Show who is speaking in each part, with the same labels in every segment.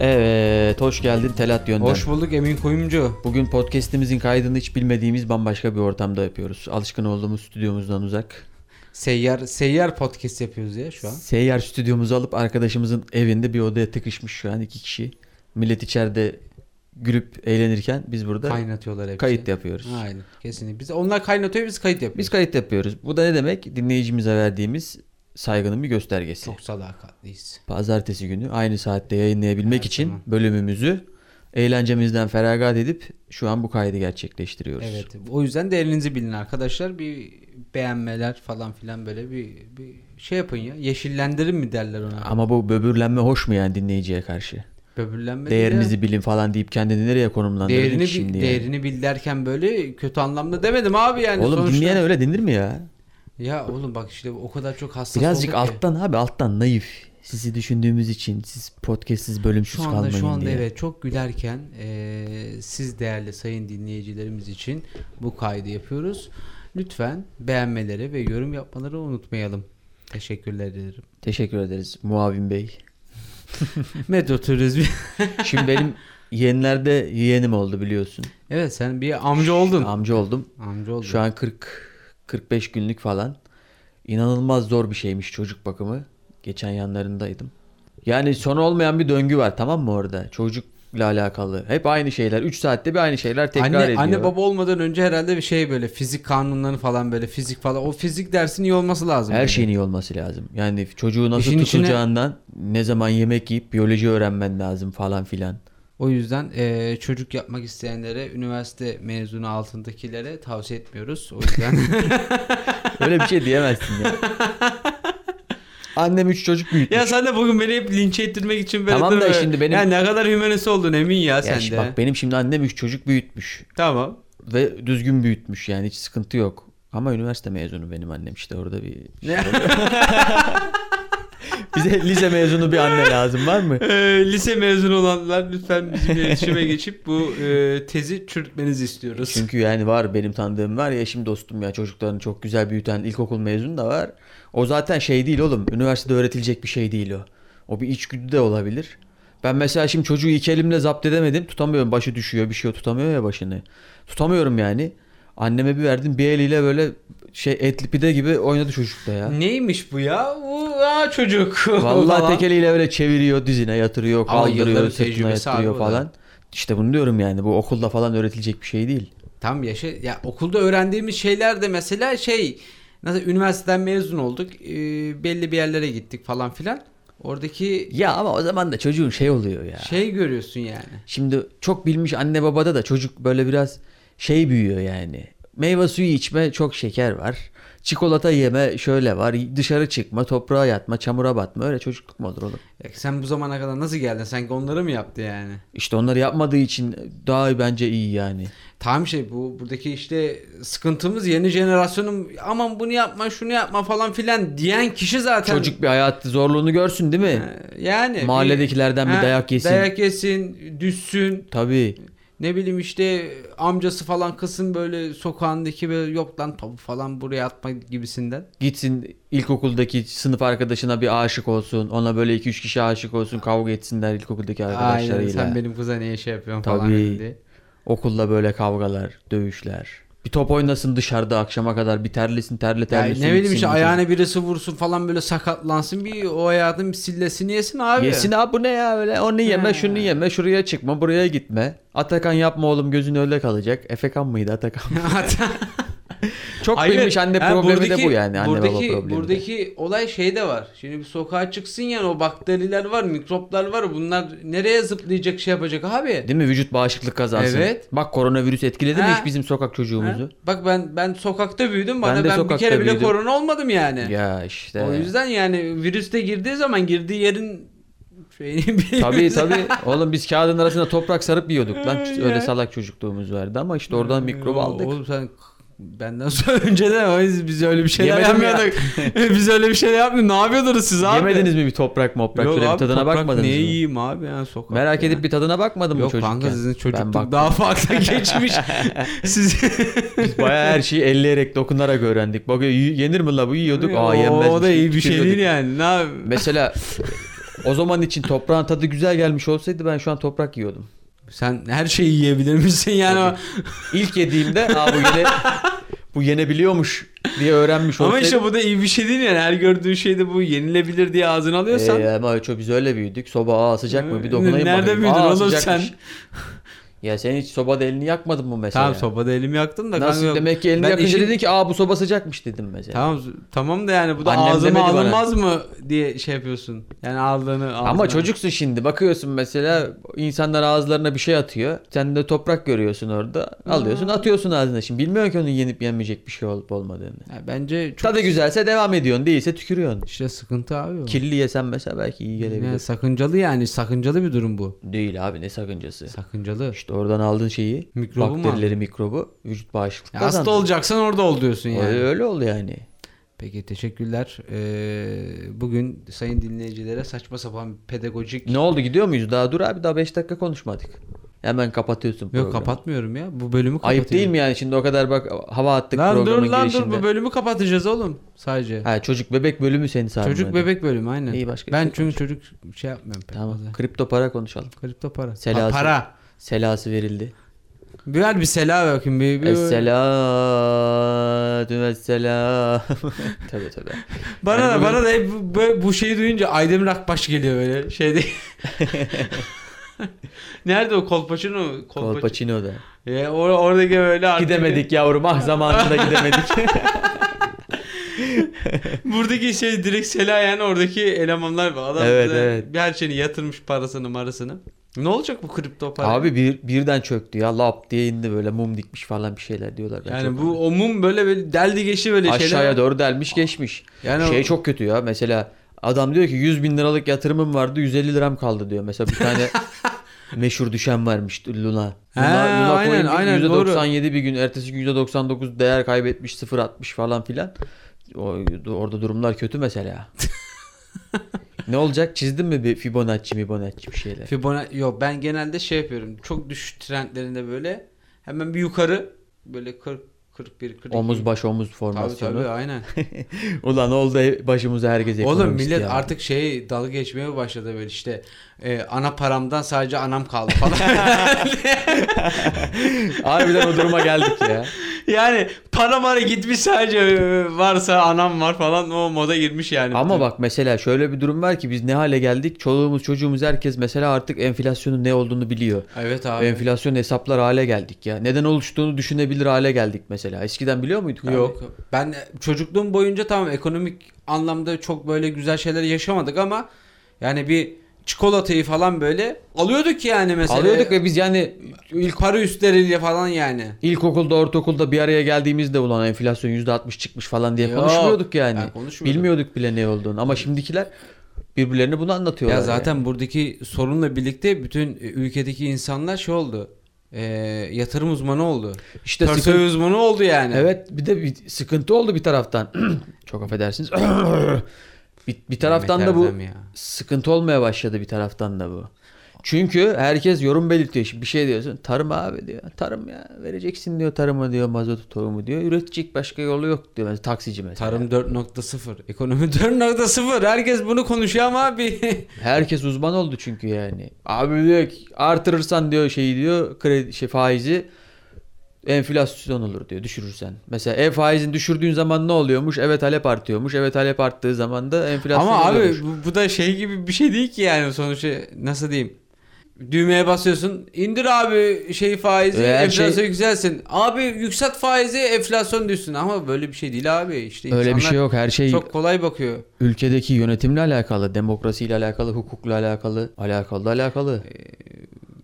Speaker 1: Evet, hoş geldin Telat Yönden.
Speaker 2: Hoş bulduk Emin Kuyumcu.
Speaker 1: Bugün podcast'imizin kaydını hiç bilmediğimiz bambaşka bir ortamda yapıyoruz. Alışkın olduğumuz stüdyomuzdan uzak.
Speaker 2: Seyyar, seyyar podcast yapıyoruz ya şu an.
Speaker 1: Seyyar stüdyomuzu alıp arkadaşımızın evinde bir odaya tıkışmış şu an iki kişi. Millet içeride gülüp eğlenirken biz burada
Speaker 2: Kaynatıyorlar hepsi.
Speaker 1: kayıt yapıyoruz.
Speaker 2: Aynen kesinlikle. Biz, onlar kaynatıyor biz kayıt yapıyoruz.
Speaker 1: Biz kayıt yapıyoruz. Bu da ne demek? Dinleyicimize verdiğimiz saygının bir göstergesi.
Speaker 2: Çok sadakatliyiz.
Speaker 1: Pazartesi günü aynı saatte yayınlayabilmek
Speaker 2: Her
Speaker 1: için
Speaker 2: zaman.
Speaker 1: bölümümüzü eğlencemizden feragat edip şu an bu kaydı gerçekleştiriyoruz.
Speaker 2: Evet. O yüzden de elinizi bilin arkadaşlar. Bir beğenmeler falan filan böyle bir, bir şey yapın ya. Yeşillendirin mi derler ona.
Speaker 1: Ama bu böbürlenme hoş mu yani dinleyiciye karşı?
Speaker 2: Böbürlenme değil ya.
Speaker 1: Değerinizi bilin falan deyip kendini nereye
Speaker 2: değerini,
Speaker 1: konumlandırdın ki
Speaker 2: bil-
Speaker 1: şimdi? yani?
Speaker 2: değerini bil derken böyle kötü anlamda demedim abi yani.
Speaker 1: Oğlum
Speaker 2: sonuçta-
Speaker 1: dinleyene öyle denir mi ya?
Speaker 2: Ya oğlum bak işte o kadar çok hassas
Speaker 1: Birazcık
Speaker 2: olduk ki.
Speaker 1: alttan abi alttan naif. Sizi düşündüğümüz için siz podcastsiz bölümsüz
Speaker 2: Şu anda
Speaker 1: kalmayın
Speaker 2: şu anda
Speaker 1: diye.
Speaker 2: evet çok gülerken eee, siz değerli sayın dinleyicilerimiz için bu kaydı yapıyoruz. Lütfen beğenmeleri ve yorum yapmaları unutmayalım. Teşekkürler ederim.
Speaker 1: Teşekkür ederiz Muavin Bey.
Speaker 2: Metro Turizm.
Speaker 1: Şimdi benim yeğenlerde yeğenim oldu biliyorsun.
Speaker 2: evet sen bir amca oldun.
Speaker 1: Amca oldum.
Speaker 2: Amca oldun.
Speaker 1: Şu an 40 45 günlük falan. İnanılmaz zor bir şeymiş çocuk bakımı. Geçen yanlarındaydım. Yani son olmayan bir döngü var tamam mı orada? Çocukla alakalı. Hep aynı şeyler. 3 saatte bir aynı şeyler tekrar
Speaker 2: anne,
Speaker 1: ediyor.
Speaker 2: anne baba olmadan önce herhalde bir şey böyle fizik kanunları falan böyle fizik falan. O fizik dersinin iyi olması lazım.
Speaker 1: Her
Speaker 2: Yani.
Speaker 1: şeyin iyi olması lazım. Yani çocuğu nasıl
Speaker 2: İşin içine-
Speaker 1: tutulacağından, ne zaman yemek yiyip biyoloji öğrenmen lazım falan filan.
Speaker 2: O yüzden eee, çocuk yapmak isteyenlere üniversite mezunu altındakilere tavsiye etmiyoruz. O yüzden
Speaker 1: Öyle bir şey diyemezsin ya. Annem 3 çocuk büyütmüş.
Speaker 2: Ya sen de bugün beni hep linç ettirmek için böyle
Speaker 1: Tamam da
Speaker 2: durma.
Speaker 1: şimdi benim-
Speaker 2: Ya ne kadar hümanist oldun emin ya,
Speaker 1: Ya
Speaker 2: sen
Speaker 1: şimdi
Speaker 2: de.
Speaker 1: bak benim şimdi annem 3 çocuk büyütmüş.
Speaker 2: Tamam.
Speaker 1: Ve düzgün büyütmüş yani hiç sıkıntı yok. Ama üniversite mezunu benim annem işte orada bir... şey
Speaker 2: Ne?
Speaker 1: Bize lise mezunu bir anne lazım var mı?
Speaker 2: Ee, lise mezunu olanlar lütfen bizimle iletişime geçip bu e, tezi çürütmenizi istiyoruz.
Speaker 1: Çünkü yani var benim tanıdığım var ya eşim dostum ya çocuklarını çok güzel büyüten ilkokul mezunu da var. O zaten şey değil oğlum üniversitede öğretilecek bir şey değil o. O bir içgüdü de olabilir. Ben mesela şimdi çocuğu iki elimle zapt edemedim tutamıyorum başı düşüyor bir şey tutamıyor ya başını. Tutamıyorum yani. Anneme bir verdim bir eliyle böyle şey etli pide gibi oynadı çocukta ya.
Speaker 2: Neymiş bu ya? Bu aa, çocuk.
Speaker 1: Vallahi tek eliyle böyle çeviriyor dizine yatırıyor
Speaker 2: Ama yılların
Speaker 1: kaldırıyor sırtına
Speaker 2: tecrübesi abi
Speaker 1: yatırıyor
Speaker 2: bu da.
Speaker 1: falan. İşte bunu diyorum yani bu okulda falan öğretilecek bir şey değil.
Speaker 2: Tam yaşa ya okulda öğrendiğimiz şeyler de mesela şey nasıl üniversiteden mezun olduk e, belli bir yerlere gittik falan filan. Oradaki
Speaker 1: Ya ama o zaman da çocuğun şey oluyor ya.
Speaker 2: şey görüyorsun yani.
Speaker 1: Şimdi çok bilmiş anne babada da çocuk böyle biraz şey büyüyor yani. Meyve suyu içme çok şeker var. Çikolata yeme şöyle var. Dışarı çıkma, toprağa yatma, çamura batma. Öyle çocukluk mu olur oğlum?
Speaker 2: Ya sen bu zamana kadar nasıl geldin? Sanki onları mı yaptı yani?
Speaker 1: İşte onları yapmadığı için daha bence iyi yani.
Speaker 2: Tam şey bu buradaki işte sıkıntımız yeni jenerasyonun aman bunu yapma şunu yapma falan filan diyen kişi zaten
Speaker 1: Çocuk bir hayatı zorluğunu görsün değil
Speaker 2: Ee,
Speaker 1: mi?
Speaker 2: yani bir-
Speaker 1: Mahalledekilerden bir
Speaker 2: Ha,
Speaker 1: dayak yesin.
Speaker 2: Dayak yesin, düşsün.
Speaker 1: Tabii.
Speaker 2: Ne bileyim işte amcası falan kızın böyle sokağındaki böyle yok lan topu falan buraya atma gibisinden.
Speaker 1: Gitsin ilkokuldaki sınıf arkadaşına bir aşık olsun. Ona böyle 2-3 kişi aşık olsun. Kavga etsinler ilkokuldaki arkadaşlarıyla.
Speaker 2: Aynen sen benim kıza niye şey yapıyorsun falan
Speaker 1: Tabii.
Speaker 2: dedi.
Speaker 1: Okulla böyle kavgalar, dövüşler. Bir top oynasın dışarıda akşama kadar. Bir terlesin terle terle.
Speaker 2: Yani
Speaker 1: su
Speaker 2: ne bileyim
Speaker 1: içsin,
Speaker 2: işte
Speaker 1: içsin.
Speaker 2: ayağına birisi vursun falan böyle sakatlansın bir o hayatın bir sillesini yesin abi.
Speaker 1: Yesin abi bu ne ya böyle onu yeme
Speaker 2: He.
Speaker 1: şunu yeme şuraya çıkma buraya gitme. Atakan yapma oğlum gözün öyle kalacak. Efekan mıydı Atakan? Çok
Speaker 2: Hayır,
Speaker 1: bilmiş anne
Speaker 2: yani
Speaker 1: problemi de
Speaker 2: buradaki-
Speaker 1: bu yani anne
Speaker 2: buradaki,
Speaker 1: baba problemi. de.
Speaker 2: Buradaki olay şey de var. Şimdi bir sokağa çıksın yani o bakteriler var, mikroplar var. Bunlar nereye zıplayacak şey yapacak abi?
Speaker 1: Değil mi vücut bağışıklık kazansın.
Speaker 2: Evet.
Speaker 1: Bak koronavirüs etkiledi mi
Speaker 2: He.
Speaker 1: hiç bizim sokak
Speaker 2: Ha?
Speaker 1: çocuğumuzu?
Speaker 2: Bak ben ben sokakta büyüdüm bana
Speaker 1: Ben
Speaker 2: ben,
Speaker 1: de
Speaker 2: bir
Speaker 1: sokakta
Speaker 2: kere bile
Speaker 1: büyüdüm.
Speaker 2: korona olmadım yani.
Speaker 1: Ya işte.
Speaker 2: O yüzden yani virüste girdiği zaman girdiği yerin şeyini bilmiyoruz.
Speaker 1: Tabii tabii. Oğlum biz kağıdın arasına toprak sarıp yiyorduk lan.
Speaker 2: Ee,
Speaker 1: Öyle
Speaker 2: ya. Hmm,
Speaker 1: salak çocukluğumuz vardı ama işte oradan mikrobu aldık.
Speaker 2: Oğlum sen benden sonra önceden biz, biz öyle bir şeyler
Speaker 1: Yemedim ya.
Speaker 2: yapmıyorduk. biz öyle bir şeyler yapmıyorduk. Ne yapıyordunuz siz abi?
Speaker 1: Yemediniz mi bir toprak moprak
Speaker 2: Yok
Speaker 1: şöyle bir
Speaker 2: abi,
Speaker 1: tadına
Speaker 2: toprak
Speaker 1: bakmadınız
Speaker 2: Niye
Speaker 1: mı?
Speaker 2: yiyeyim abi ya sokak.
Speaker 1: Merak
Speaker 2: ya.
Speaker 1: edip bir tadına bakmadın mı
Speaker 2: Yok
Speaker 1: çocukken?
Speaker 2: kanka sizin
Speaker 1: Ben
Speaker 2: çocukluk
Speaker 1: bak-
Speaker 2: daha farklı geçmiş. Siz
Speaker 1: biz bayağı her şeyi elleyerek dokunarak öğrendik. Bak y- yenir mi la bu yiyorduk. Aa yenmez.
Speaker 2: O da iyi bir şey değil
Speaker 1: Tükürüyorduk.
Speaker 2: yani. Ne abi?
Speaker 1: Mesela O zaman için toprağın tadı güzel gelmiş olsaydı ben şu an toprak yiyordum.
Speaker 2: Sen her şeyi yiyebilir misin yani? o-
Speaker 1: İlk yediğimde Aa, bu yene bu yenebiliyormuş diye öğrenmiş
Speaker 2: Ama
Speaker 1: olsaydım.
Speaker 2: işte bu da iyi bir şey değil yani. Her gördüğün şeyde bu yenilebilir diye ağzına alıyorsan.
Speaker 1: Ee, ama çok biz öyle büyüdük. Soba aa sıcak mı? Bir dokunayım
Speaker 2: Nerede
Speaker 1: bakayım.
Speaker 2: büyüdün
Speaker 1: Aa,
Speaker 2: oğlum
Speaker 1: sıcakmış.
Speaker 2: sen?
Speaker 1: Ya sen hiç sobada elini yakmadın mı mesela?
Speaker 2: Tamam sobada elimi yaktım da.
Speaker 1: Nasıl
Speaker 2: kanka-
Speaker 1: demek ki elini
Speaker 2: ben
Speaker 1: yakınca
Speaker 2: işin-
Speaker 1: dedin ki aa bu soba sıcakmış dedim mesela.
Speaker 2: Tamam tamam da yani bu da
Speaker 1: Annem
Speaker 2: ağzıma
Speaker 1: demedi bana.
Speaker 2: alınmaz mı diye şey yapıyorsun. Yani aldığını ağzına.
Speaker 1: Ama çocuksun şimdi bakıyorsun mesela insanlar ağızlarına bir şey atıyor. Sen de toprak görüyorsun orada. Alıyorsun atıyorsun ağzına. Şimdi bilmiyorsun ki onun yenip yenmeyecek bir şey olup olmadığını.
Speaker 2: Ya bence çok
Speaker 1: Tadı güzelse devam ediyorsun değilse tükürüyorsun.
Speaker 2: işte sıkıntı abi o.
Speaker 1: Kirli yesen mesela belki iyi gelebilir.
Speaker 2: Yani sakıncalı yani sakıncalı bir durum bu.
Speaker 1: Değil abi ne sakıncası.
Speaker 2: Sakıncalı.
Speaker 1: İşte oradan aldığın şeyi
Speaker 2: Mikrobu mu
Speaker 1: bakterileri mikrobu vücut bağışıklık
Speaker 2: Ya
Speaker 1: kazandı.
Speaker 2: hasta olacaksan orada ol diyorsun yani.
Speaker 1: Öyle, öyle oldu yani.
Speaker 2: Peki teşekkürler. Ee, bugün sayın dinleyicilere saçma sapan pedagojik
Speaker 1: Ne oldu gidiyor muyuz? Daha dur abi daha 5 dakika konuşmadık. Hemen kapatıyorsun programı.
Speaker 2: Yok kapatmıyorum ya. Bu bölümü kapatıyorum.
Speaker 1: Ayıp değil mi yani şimdi o kadar bak hava attık
Speaker 2: Lan dur
Speaker 1: programın
Speaker 2: lan dur
Speaker 1: girişinde.
Speaker 2: bu bölümü kapatacağız oğlum sadece.
Speaker 1: Ha çocuk bebek bölümü seni sarmadı.
Speaker 2: çocuk bebek bölümü aynen.
Speaker 1: İyi, başka bir
Speaker 2: ben
Speaker 1: şey
Speaker 2: çünkü çocuk şey yapmıyorum pek
Speaker 1: Tamam.
Speaker 2: fazla.
Speaker 1: Kripto para konuşalım.
Speaker 2: Kripto para.
Speaker 1: Selası.
Speaker 2: Pa- para.
Speaker 1: Selası verildi.
Speaker 2: Bir ver bir selam bakayım. Bir,
Speaker 1: E,
Speaker 2: bir-
Speaker 1: Esselatü vesselam. tabii tabii.
Speaker 2: Bana
Speaker 1: Yani
Speaker 2: da
Speaker 1: bugün-
Speaker 2: bana da hep bu, bu- bu şeyi duyunca Aydemir Akbaş geliyor böyle şeyde. Nerede o Kolpaçino? Kolpaçino.
Speaker 1: Kolpaçino'da.
Speaker 2: Ya, or- oradaki böyle artık.
Speaker 1: Gidemedik yavrum ah zamanında gidemedik.
Speaker 2: Buradaki şey direkt Sela yani oradaki elemanlar var. Adam
Speaker 1: Evet,
Speaker 2: bize
Speaker 1: evet.
Speaker 2: bir her şeyini yatırmış parasını marasını. Ne olacak bu kripto para?
Speaker 1: Abi bir, birden çöktü ya lap diye indi böyle mum dikmiş falan bir şeyler diyorlar. Ben
Speaker 2: Yani
Speaker 1: çok-
Speaker 2: bu o mum böyle böyle deldi geçti böyle
Speaker 1: aşağıya
Speaker 2: şeyler.
Speaker 1: doğru delmiş geçmiş.
Speaker 2: Yani
Speaker 1: şey
Speaker 2: o-
Speaker 1: çok kötü ya mesela adam diyor ki 100 bin liralık yatırımım vardı 150 liram kaldı diyor. Mesela bir tane meşhur düşen varmış Luna. Luna,
Speaker 2: He,
Speaker 1: Luna
Speaker 2: aynen,
Speaker 1: Coin bir-
Speaker 2: aynen,
Speaker 1: %97 bir gün ertesi gün %99 değer kaybetmiş 0 atmış falan filan. O, orada durumlar kötü mesela. ne olacak çizdin mi bir Fibonacci Fibonacci bir şeyler?
Speaker 2: Fibonacci yok ben genelde şey yapıyorum. Çok düşük trendlerinde böyle hemen bir yukarı böyle 40 41 42.
Speaker 1: Omuz baş omuz
Speaker 2: Tabii
Speaker 1: formasyonu.
Speaker 2: tabii aynen.
Speaker 1: Ulan oldu he- başımıza herkes
Speaker 2: Oğlum
Speaker 1: ekonomist
Speaker 2: millet
Speaker 1: ya.
Speaker 2: artık şey dalga geçmeye başladı böyle işte e, ana paramdan sadece anam kaldı falan.
Speaker 1: Harbiden o duruma geldik ya.
Speaker 2: yani para mara gitmiş sadece e, varsa anam var falan o moda girmiş yani.
Speaker 1: Ama bak mesela şöyle bir durum var ki biz ne hale geldik? Çoluğumuz çocuğumuz herkes mesela artık enflasyonun ne olduğunu biliyor.
Speaker 2: Evet abi.
Speaker 1: Enflasyon hesaplar hale geldik ya. Neden oluştuğunu düşünebilir hale geldik mesela. Eskiden biliyor muyduk abi?
Speaker 2: Yok. Ben çocukluğum boyunca tamam ekonomik anlamda çok böyle güzel şeyler yaşamadık ama yani bir çikolatayı falan böyle alıyorduk yani mesela.
Speaker 1: Alıyorduk ve biz yani
Speaker 2: ilk para üstleriyle falan yani.
Speaker 1: ilkokulda ortaokulda bir araya geldiğimizde ulan enflasyon %60 çıkmış falan diye
Speaker 2: Yok.
Speaker 1: konuşmuyorduk yani.
Speaker 2: Ha, konuşmuyorduk.
Speaker 1: Bilmiyorduk bile ne olduğunu ama şimdikiler birbirlerine bunu anlatıyorlar.
Speaker 2: Ya
Speaker 1: yani.
Speaker 2: zaten buradaki sorunla birlikte bütün ülkedeki insanlar şey oldu. Ee, yatırım uzmanı oldu.
Speaker 1: İşte
Speaker 2: Portföy
Speaker 1: sıkıntı-
Speaker 2: uzmanı oldu yani.
Speaker 1: Evet bir de bir sıkıntı oldu bir taraftan. Çok affedersiniz. bir, bir taraftan da bu
Speaker 2: Erdem ya.
Speaker 1: sıkıntı olmaya başladı bir taraftan da bu. Çünkü herkes yorum belirtiyor. Şimdi bir şey diyorsun. Tarım abi diyor. Tarım ya vereceksin diyor tarıma diyor mazotu tohumu diyor. Üretecek başka yolu yok diyor. Mesela taksici mesela.
Speaker 2: Tarım 4.0, ekonomi 4.0. Herkes bunu konuşuyor ama bir
Speaker 1: Herkes uzman oldu çünkü yani. Abi diyor ki, artırırsan diyor şeyi diyor kredi şey faizi enflasyon olur diyor düşürürsen. Mesela ev faizini düşürdüğün zaman ne oluyormuş? Evet talep artıyormuş. Evet talep arttığı zaman da enflasyon
Speaker 2: Ama
Speaker 1: oluyormuş.
Speaker 2: abi bu, bu da şey gibi bir şey değil ki yani sonuçta nasıl diyeyim? Düğmeye basıyorsun. indir abi şey faizi,
Speaker 1: Ee, her
Speaker 2: enflasyon
Speaker 1: şey-
Speaker 2: yükselsin. Abi yükselt faizi, enflasyon düşsün. Ama böyle bir şey değil abi. İşte
Speaker 1: Öyle bir
Speaker 2: insanlar
Speaker 1: şey yok. Her şey
Speaker 2: Çok kolay bakıyor.
Speaker 1: ülkedeki yönetimle alakalı, demokrasiyle alakalı, hukukla alakalı, alakalı da alakalı. Ee,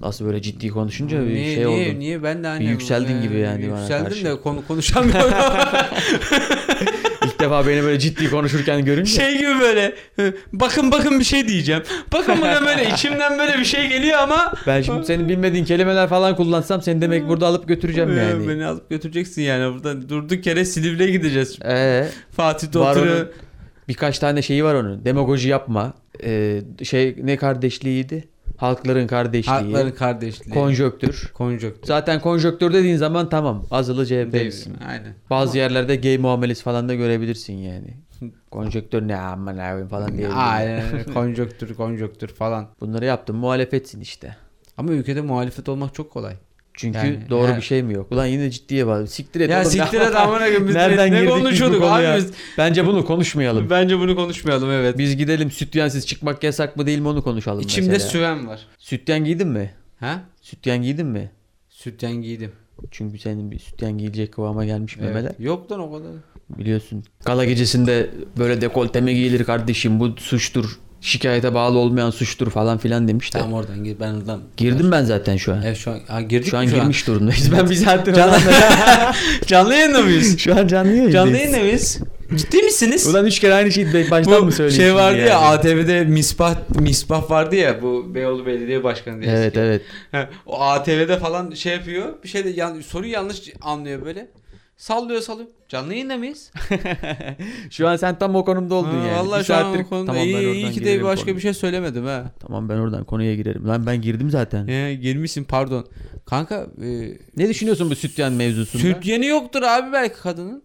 Speaker 1: Nasıl böyle ciddi konuşunca bir
Speaker 2: niye,
Speaker 1: şey
Speaker 2: niye,
Speaker 1: oldu.
Speaker 2: niye ben de hani
Speaker 1: Bir yükseldin
Speaker 2: e,
Speaker 1: gibi yani bana
Speaker 2: Yükseldim
Speaker 1: karşı.
Speaker 2: de konu konuşamıyorum.
Speaker 1: İlk defa beni böyle ciddi konuşurken görünce
Speaker 2: şey gibi böyle bakın bakın bir şey diyeceğim. Bakın bakın böyle içimden böyle bir şey geliyor ama
Speaker 1: ben şimdi senin bilmediğin kelimeler falan kullansam seni demek burada alıp götüreceğim
Speaker 2: Ee,
Speaker 1: yani.
Speaker 2: Beni alıp götüreceksin yani buradan durduk yere Silivri'ye gideceğiz.
Speaker 1: Ee,
Speaker 2: Fatih
Speaker 1: Var
Speaker 2: Dotır'ı
Speaker 1: onun. birkaç tane şeyi var onun. Demagoji yapma. Ee, şey ne kardeşliğiydi? Halkların kardeşliği.
Speaker 2: Halkların kardeşliği.
Speaker 1: Konjöktür.
Speaker 2: Konjöktür.
Speaker 1: Zaten konjöktür dediğin zaman tamam. Azılı CHP'lisin.
Speaker 2: Aynen.
Speaker 1: Bazı yerlerde gay muamelesi falan da görebilirsin yani. Konjöktür ne aman abim falan diye.
Speaker 2: Aynen öyle. konjöktür konjöktür falan.
Speaker 1: Bunları yaptım muhalefetsin işte.
Speaker 2: Ama ülkede muhalefet olmak çok kolay.
Speaker 1: Çünkü
Speaker 2: Yani,
Speaker 1: doğru
Speaker 2: he.
Speaker 1: bir şey mi yok? Ulan yine ciddiye bağlı. Siktir et.
Speaker 2: Ya
Speaker 1: oğlum,
Speaker 2: siktir et amına koyayım, biz
Speaker 1: Nereden
Speaker 2: ne
Speaker 1: girdik biz bu
Speaker 2: konuşuyorduk
Speaker 1: konuya?
Speaker 2: abi biz?
Speaker 1: Bence bunu konuşmayalım.
Speaker 2: Bence bunu konuşmayalım evet.
Speaker 1: Biz gidelim sütyensiz çıkmak yasak mı değil mi onu konuşalım
Speaker 2: İçimde
Speaker 1: mesela.
Speaker 2: süven var.
Speaker 1: Sütyen giydin mi?
Speaker 2: Ha?
Speaker 1: Sütyen giydin mi?
Speaker 2: Sütten giydim.
Speaker 1: Çünkü senin bir sütyen giyecek kıvama gelmiş
Speaker 2: Evet.
Speaker 1: memeler.
Speaker 2: Yok lan o kadar.
Speaker 1: Biliyorsun. Gala gecesinde böyle dekolte mi giyilir kardeşim bu suçtur. Şikayete bağlı olmayan suçtur falan filan demişti.
Speaker 2: Tamam oradan gir ben oradan.
Speaker 1: Girdim ben zaten şu an.
Speaker 2: Evet şu an ha, girdik
Speaker 1: şu
Speaker 2: mi
Speaker 1: an girmiş durumdayız. Ben bir saattir
Speaker 2: Canlı,
Speaker 1: falan-
Speaker 2: canlı yayında mıyız?
Speaker 1: Şu an canlı yayındayız.
Speaker 2: Canlı yayında mıyız? Ciddi misiniz?
Speaker 1: Ulan üç kere aynı şeyi baştan mı
Speaker 2: bu
Speaker 1: söyleyeyim?
Speaker 2: şey
Speaker 1: şimdi
Speaker 2: vardı ya
Speaker 1: yani?
Speaker 2: ATV'de misbah misbah vardı ya bu Beyoğlu Belediye Başkanı diye.
Speaker 1: Evet evet.
Speaker 2: Ha, o ATV'de falan şey yapıyor. Bir şey de yan, soruyu yanlış anlıyor böyle. Sallıyor sallıyor. Canlı yayında mıyız?
Speaker 1: Şu an sen tam o konumda oldun
Speaker 2: Ha,
Speaker 1: yani.
Speaker 2: Vallahi
Speaker 1: Bir
Speaker 2: şu an
Speaker 1: saattir-
Speaker 2: o konuda
Speaker 1: Tamam, ben
Speaker 2: iyi,
Speaker 1: oradan
Speaker 2: iyi ki de
Speaker 1: girerim
Speaker 2: başka
Speaker 1: konuya.
Speaker 2: bir şey söylemedim ha.
Speaker 1: Tamam ben oradan konuya girerim. Lan ben girdim zaten.
Speaker 2: He, girmişsin pardon. Kanka e,
Speaker 1: Ne düşünüyorsun bu sütyen mevzusunda?
Speaker 2: süt yeni yoktur abi belki kadının.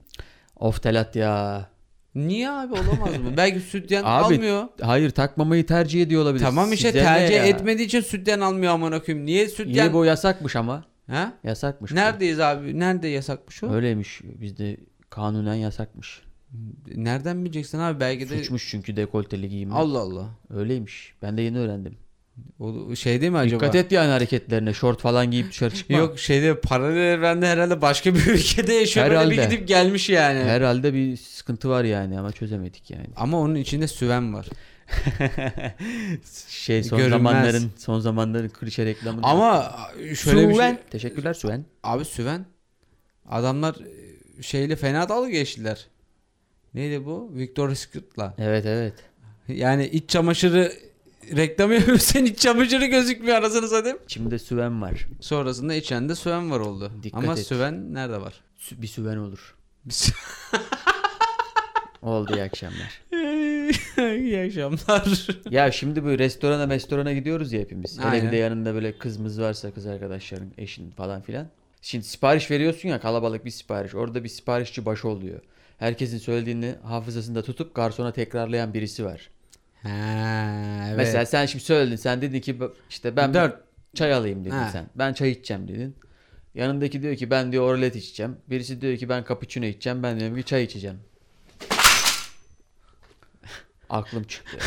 Speaker 1: Of telat ya.
Speaker 2: Niye abi olamaz mı? belki sütyen
Speaker 1: Abi,
Speaker 2: almıyor.
Speaker 1: Hayır takmamayı tercih ediyor olabilir.
Speaker 2: Tamam işte
Speaker 1: Size ne
Speaker 2: tercih
Speaker 1: ya?
Speaker 2: etmediği için sütyen almıyor amına koyayım. Niye
Speaker 1: Yine
Speaker 2: sütyen?
Speaker 1: bu yasakmış ama.
Speaker 2: ha?
Speaker 1: Yasakmış. bu.
Speaker 2: Neredeyiz abi? Nerede yasakmış o?
Speaker 1: Öyleymiş. Bizde kanunen yasakmış.
Speaker 2: Nereden bileceksin abi? Belki de
Speaker 1: Suçmuş çünkü dekolteli giyimi.
Speaker 2: Allah Allah.
Speaker 1: Öyleymiş. Ben de yeni öğrendim.
Speaker 2: O şey değil mi acaba?
Speaker 1: Dikkat et yani hareketlerine. Şort falan giyip dışarı çıkma.
Speaker 2: Yok şeyde paralel evrende herhalde başka bir ülkede yaşıyor. Böyle bir
Speaker 1: Herhalde.
Speaker 2: gidip gelmiş yani.
Speaker 1: Herhalde bir sıkıntı var yani ama çözemedik yani.
Speaker 2: Ama onun içinde süven var.
Speaker 1: Şey son
Speaker 2: Görünmez.
Speaker 1: zamanların son zamanların klişe reklamını.
Speaker 2: Ama şöyle bir şey.
Speaker 1: Süven. Teşekkürler Süven.
Speaker 2: Abi Süven adamlar e, şeyle fena dalga geçtiler. Neydi bu? Victoria's Secret'la.
Speaker 1: Evet evet.
Speaker 2: Yani iç çamaşırı reklamı yapıyorsan iç çamaşırı gözükmüyor arasını satayım.
Speaker 1: İçimde Süven var.
Speaker 2: Sonrasında içende Süven var oldu.
Speaker 1: Dikkat
Speaker 2: Ama
Speaker 1: et.
Speaker 2: Süven nerede var?
Speaker 1: Sü- Bir Süven olur.
Speaker 2: Biz-
Speaker 1: Oldu iyi akşamlar.
Speaker 2: İyi akşamlar.
Speaker 1: ya şimdi bu restorana restorana gidiyoruz ya hepimiz. Hele
Speaker 2: Aynen.
Speaker 1: bir de yanında böyle kızımız varsa kız arkadaşların eşin falan filan. Şimdi sipariş veriyorsun ya kalabalık bir sipariş. Orada bir siparişçi başı oluyor. Herkesin söylediğini hafızasında tutup garsona tekrarlayan birisi var.
Speaker 2: Ha, evet.
Speaker 1: Mesela sen şimdi söyledin. Sen dedin ki işte ben bir
Speaker 2: Dört.
Speaker 1: çay alayım dedin
Speaker 2: Ha.
Speaker 1: sen. Ben çay içeceğim dedin. Yanındaki diyor ki ben diyor oralet içeceğim. Birisi diyor ki ben cappuccino içeceğim. Ben diyorum ki çay içeceğim. Aklım çıktı.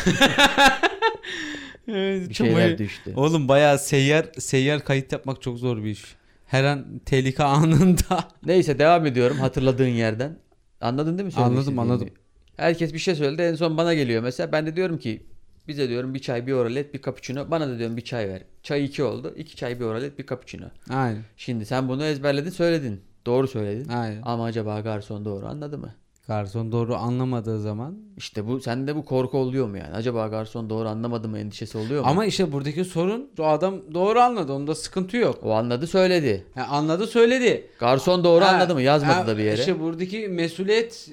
Speaker 2: Evet,
Speaker 1: Bir
Speaker 2: çok
Speaker 1: şeyler
Speaker 2: baya-
Speaker 1: düştü.
Speaker 2: Oğlum bayağı seyyar seyyar kayıt yapmak çok zor bir iş. Her an tehlike anında.
Speaker 1: Neyse devam ediyorum hatırladığın yerden. Anladın değil mi? söylemek
Speaker 2: Anladım,
Speaker 1: istediğimi?
Speaker 2: anladım.
Speaker 1: Herkes bir şey söyledi en son bana geliyor mesela. Ben de diyorum ki bize diyorum bir çay bir oralet bir cappuccino. Bana da diyorum bir çay ver. Çay iki oldu. İki çay bir oralet bir cappuccino.
Speaker 2: Aynen.
Speaker 1: Şimdi sen bunu ezberledin söyledin. Doğru söyledin.
Speaker 2: Aynen.
Speaker 1: Ama acaba garson doğru anladı mı?
Speaker 2: Garson doğru anlamadığı zaman.
Speaker 1: İşte bu sende bu korku oluyor mu yani? Acaba garson doğru anlamadı mı endişesi oluyor mu?
Speaker 2: Ama işte buradaki sorun o adam doğru anladı. Onda sıkıntı yok.
Speaker 1: o anladı söyledi.
Speaker 2: Yani anladı söyledi.
Speaker 1: Garson doğru
Speaker 2: Ha,
Speaker 1: anladı mı? Yazmadı
Speaker 2: ha,
Speaker 1: da bir yere.
Speaker 2: İşte buradaki mesuliyet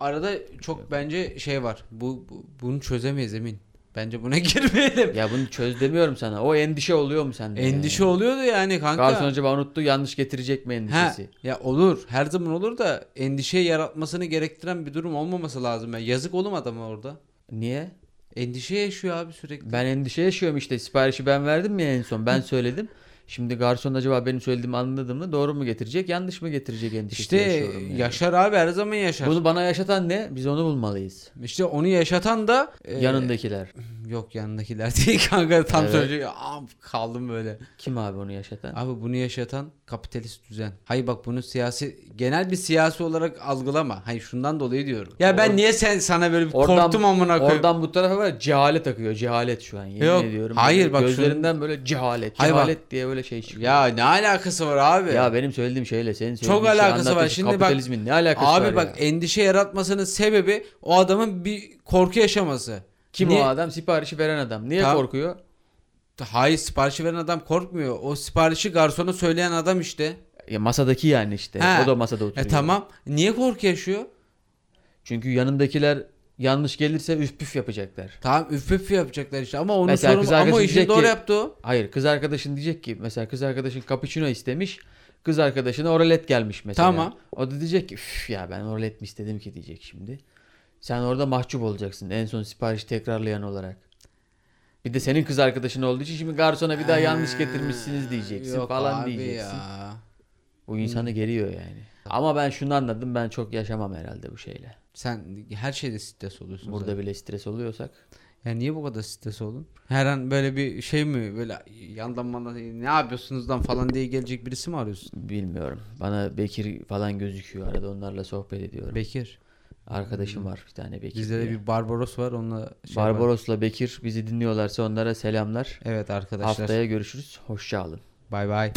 Speaker 2: arada çok bence şey var. Bu, bu- bunu çözemeyiz emin. Bence buna girmeyelim.
Speaker 1: Ya bunu çöz demiyorum sana. O endişe oluyor mu sende?
Speaker 2: Endişe oluyordu yani
Speaker 1: yani?
Speaker 2: kanka.
Speaker 1: Hmm. Garson acaba unuttu yanlış getirecek mi
Speaker 2: Ha,
Speaker 1: endişesi?
Speaker 2: ya olur. Her zaman olur da endişe yaratmasını gerektiren bir durum olmaması lazım. ya. yazık oğlum adama orada.
Speaker 1: Niye?
Speaker 2: Endişe yaşıyor abi sürekli.
Speaker 1: Ben endişe yaşıyorum işte. Siparişi ben verdim ya en son. Ben söyledim. Şimdi garson acaba benim söylediğimi anladı mı? Doğru mu getirecek? Yanlış mı getirecek endişesi
Speaker 2: İşte
Speaker 1: yaşıyorum yani.
Speaker 2: yaşar abi her zaman yaşar.
Speaker 1: Bunu bana yaşatan ne? Biz onu bulmalıyız.
Speaker 2: İşte onu yaşatan da e,
Speaker 1: Yanındakiler.
Speaker 2: yok yanındakiler değil kanka tam
Speaker 1: Evet.
Speaker 2: söyleyecek. Aa, kaldım böyle.
Speaker 1: Kim abi onu yaşatan?
Speaker 2: Abi bunu yaşatan kapitalist düzen. Hayır bak bunu siyasi genel bir siyasi olarak algılama. Hayır şundan dolayı diyorum. Ya ben
Speaker 1: Or-
Speaker 2: niye sen sana böyle bir
Speaker 1: Oradan-
Speaker 2: korktum amına koyayım.
Speaker 1: Oradan bu tarafa var ya, cehalet akıyor. Cehalet şu an. Yemin
Speaker 2: Yok,
Speaker 1: ediyorum.
Speaker 2: hayır
Speaker 1: Böyle
Speaker 2: bak şu-
Speaker 1: Gözlerinden böyle cehalet.
Speaker 2: Hayır bak.
Speaker 1: cehalet diye böyle şey çıkıyor.
Speaker 2: Ya ne alakası var abi?
Speaker 1: Ya benim söylediğim şeyle senin söylediğin
Speaker 2: Çok
Speaker 1: şey
Speaker 2: alakası var.
Speaker 1: anlatıyorsun.
Speaker 2: Şimdi bak-
Speaker 1: Kapitalizmin ne alakası var
Speaker 2: Abi
Speaker 1: ya?
Speaker 2: bak endişe yaratmasının sebebi o adamın bir korku yaşaması.
Speaker 1: Kim
Speaker 2: Niye-
Speaker 1: o adam? Siparişi veren adam. Niye
Speaker 2: Tamam.
Speaker 1: korkuyor?
Speaker 2: Hayır siparişi veren adam korkmuyor. O siparişi garsona söyleyen adam işte.
Speaker 1: Ya masadaki yani işte.
Speaker 2: He.
Speaker 1: O da masada oturuyor.
Speaker 2: E tamam. Niye korku yaşıyor?
Speaker 1: Çünkü yanındakiler yanlış gelirse üf püf yapacaklar.
Speaker 2: Tamam üf üf yapacaklar işte ama onun
Speaker 1: Mesela kız
Speaker 2: sorunu ama
Speaker 1: arkadaşı
Speaker 2: o işi
Speaker 1: diyecek
Speaker 2: doğru
Speaker 1: ki-
Speaker 2: yaptı o.
Speaker 1: Hayır kız arkadaşın diyecek ki mesela kız arkadaşın cappuccino istemiş. Kız arkadaşına oralet gelmiş mesela.
Speaker 2: Tamam.
Speaker 1: O da diyecek ki üf ya ben oralet mi istedim ki diyecek şimdi. Sen orada mahcup olacaksın en son siparişi tekrarlayan olarak. Bir de senin kız arkadaşın olduğu için şimdi garsona bir daha yanlış getirmişsiniz diyeceksin
Speaker 2: Ee, Yok
Speaker 1: falan
Speaker 2: abi
Speaker 1: diyeceksin.
Speaker 2: Ya. Hmm.
Speaker 1: Bu insanı geriyor yani. Ama ben şunu anladım ben çok yaşamam herhalde bu şeyle.
Speaker 2: Sen her şeyde stres oluyorsun. zaten.
Speaker 1: Burada bile stres oluyorsak.
Speaker 2: Ya niye bu kadar stres oldun? Her an böyle bir şey mi böyle yandan bana ne yapıyorsunuz lan falan diye gelecek birisi mi arıyorsun?
Speaker 1: Bilmiyorum. Bana Bekir falan gözüküyor arada onlarla sohbet ediyorum.
Speaker 2: Bekir.
Speaker 1: Arkadaşım var bir tane Bekir.
Speaker 2: Bizde de
Speaker 1: diye.
Speaker 2: Hmm. bir Barbaros var onunla şey var.
Speaker 1: Barbaros'la Bekir bizi dinliyorlarsa onlara selamlar.
Speaker 2: Evet arkadaşlar.
Speaker 1: Haftaya görüşürüz. Hoşça alın.
Speaker 2: Bay bay.